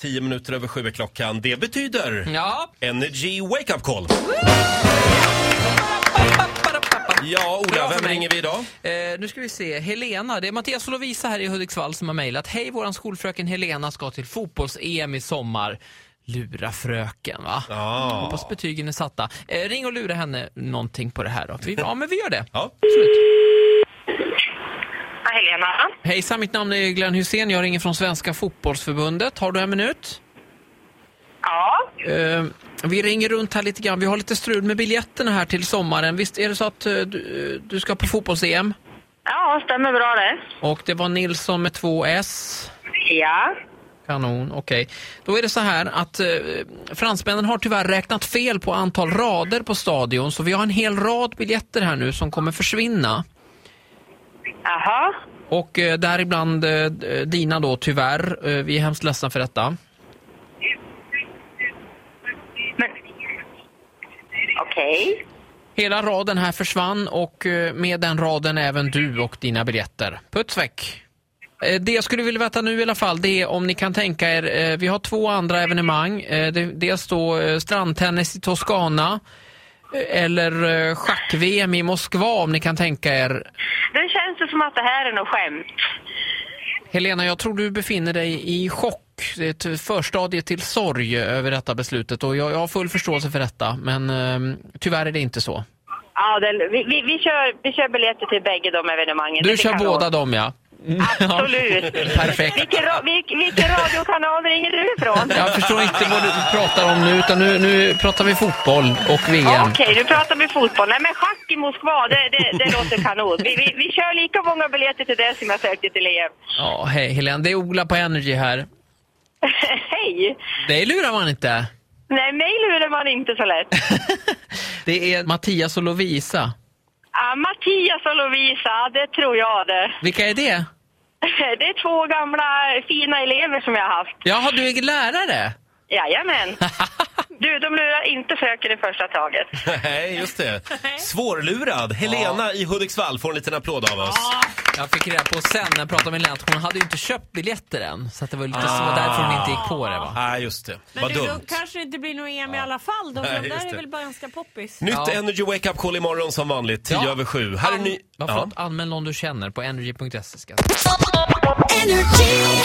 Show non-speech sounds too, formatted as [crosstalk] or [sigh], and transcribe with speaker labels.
Speaker 1: Tio minuter över sju är klockan. Det betyder
Speaker 2: Ja.
Speaker 1: Energy Wake Up Call. Ja,
Speaker 2: Bra
Speaker 1: Ola,
Speaker 2: för
Speaker 1: vem
Speaker 2: mig.
Speaker 1: ringer vi idag?
Speaker 2: Eh, nu ska vi se, Helena. Det är Mattias och Lovisa här i Hudiksvall som har mejlat. Hej, våran skolfröken Helena ska till fotbolls-EM i sommar. Lura fröken, va?
Speaker 1: Ja.
Speaker 2: Hoppas betygen är satta. Eh, ring och lura henne någonting på det här då. Vi, ja, men vi gör det.
Speaker 1: Ja. [laughs]
Speaker 2: Absolut.
Speaker 3: Ja, Helena.
Speaker 2: Hejsan, mitt namn är Glenn Hussein. Jag ringer från Svenska Fotbollsförbundet. Har du en minut?
Speaker 3: Ja.
Speaker 2: Eh, vi ringer runt här lite grann. Vi har lite strul med biljetterna här till sommaren. Visst är det så att eh, du, du ska på fotbolls-EM?
Speaker 3: Ja, stämmer bra det.
Speaker 2: Och det var Nilsson med två S.
Speaker 3: Ja.
Speaker 2: Kanon, okej. Då är det så här att eh, fransmännen har tyvärr räknat fel på antal rader på stadion så vi har en hel rad biljetter här nu som kommer försvinna.
Speaker 3: Jaha.
Speaker 2: Och eh, däribland eh, dina då tyvärr. Eh, vi är hemskt ledsna för detta.
Speaker 3: Men... Okej.
Speaker 2: Hela raden här försvann och eh, med den raden även du och dina biljetter. Puts väck! Eh, Det jag skulle vilja veta nu i alla fall, det är om ni kan tänka er, eh, vi har två andra evenemang. Eh, det- Dels då eh, strandtennis i Toscana eh, eller eh, schack-VM i Moskva om ni kan tänka er.
Speaker 3: Nu känns det som att det här är något skämt.
Speaker 2: Helena, jag tror du befinner dig i chock. Det är ett förstadie till sorg över detta beslutet och jag, jag har full förståelse för detta men eh, tyvärr är det inte så.
Speaker 3: Ja, det, vi, vi, vi, kör, vi kör biljetter till bägge de evenemangen.
Speaker 2: Du
Speaker 3: Det
Speaker 2: kör
Speaker 3: kan
Speaker 2: båda
Speaker 3: gå.
Speaker 2: dem ja. [laughs]
Speaker 3: Absolut.
Speaker 2: Perfekt.
Speaker 3: Vilken, ra, vilk, vilken radiokanal ringer du ifrån?
Speaker 2: Jag förstår inte vad du pratar om nu, utan nu, nu pratar vi fotboll och VM.
Speaker 3: Okej, nu pratar vi fotboll. Nej, men schack i Moskva, det, det, det låter kanon. Vi, vi, vi kör lika många biljetter till det som jag sökte till EM. [laughs]
Speaker 2: Ja, hej Helene, det är Ola på Energy här.
Speaker 3: Hej!
Speaker 2: Det lurar man inte.
Speaker 3: Nej, mig lurar man inte så lätt.
Speaker 2: Det är Mattias och Lovisa.
Speaker 3: Ja, Mattias och Lovisa, det tror jag det. [laughs]
Speaker 2: Vilka är det?
Speaker 3: Det är två gamla fina elever som jag har haft.
Speaker 2: Jaha, du är lärare? [laughs]
Speaker 3: Jajamän. Du, de lurar inte fröken i första taget.
Speaker 1: Nej, just det. Svårlurad. Helena i Hudiksvall får en liten applåd av oss.
Speaker 2: Jag fick reda på sen när jag pratade med Lena att hon hade ju inte köpt biljetter än. Så att det var lite så därför hon inte gick på det va.
Speaker 1: Nej, just det.
Speaker 4: Men
Speaker 1: Vad
Speaker 4: du,
Speaker 1: dumt.
Speaker 4: då kanske det inte blir något EM i alla fall då, för
Speaker 1: Nej,
Speaker 4: de
Speaker 1: just
Speaker 4: där
Speaker 1: det.
Speaker 4: är väl bara ganska poppis.
Speaker 1: Nytt
Speaker 2: Ja.
Speaker 1: Energy Wake Up Call imorgon som vanligt, 10
Speaker 2: Ja.
Speaker 1: över 7. Här är ny...
Speaker 2: Varför
Speaker 1: Ja.
Speaker 2: ja. anmäl någon du känner på energy.se? ska-
Speaker 5: Energy.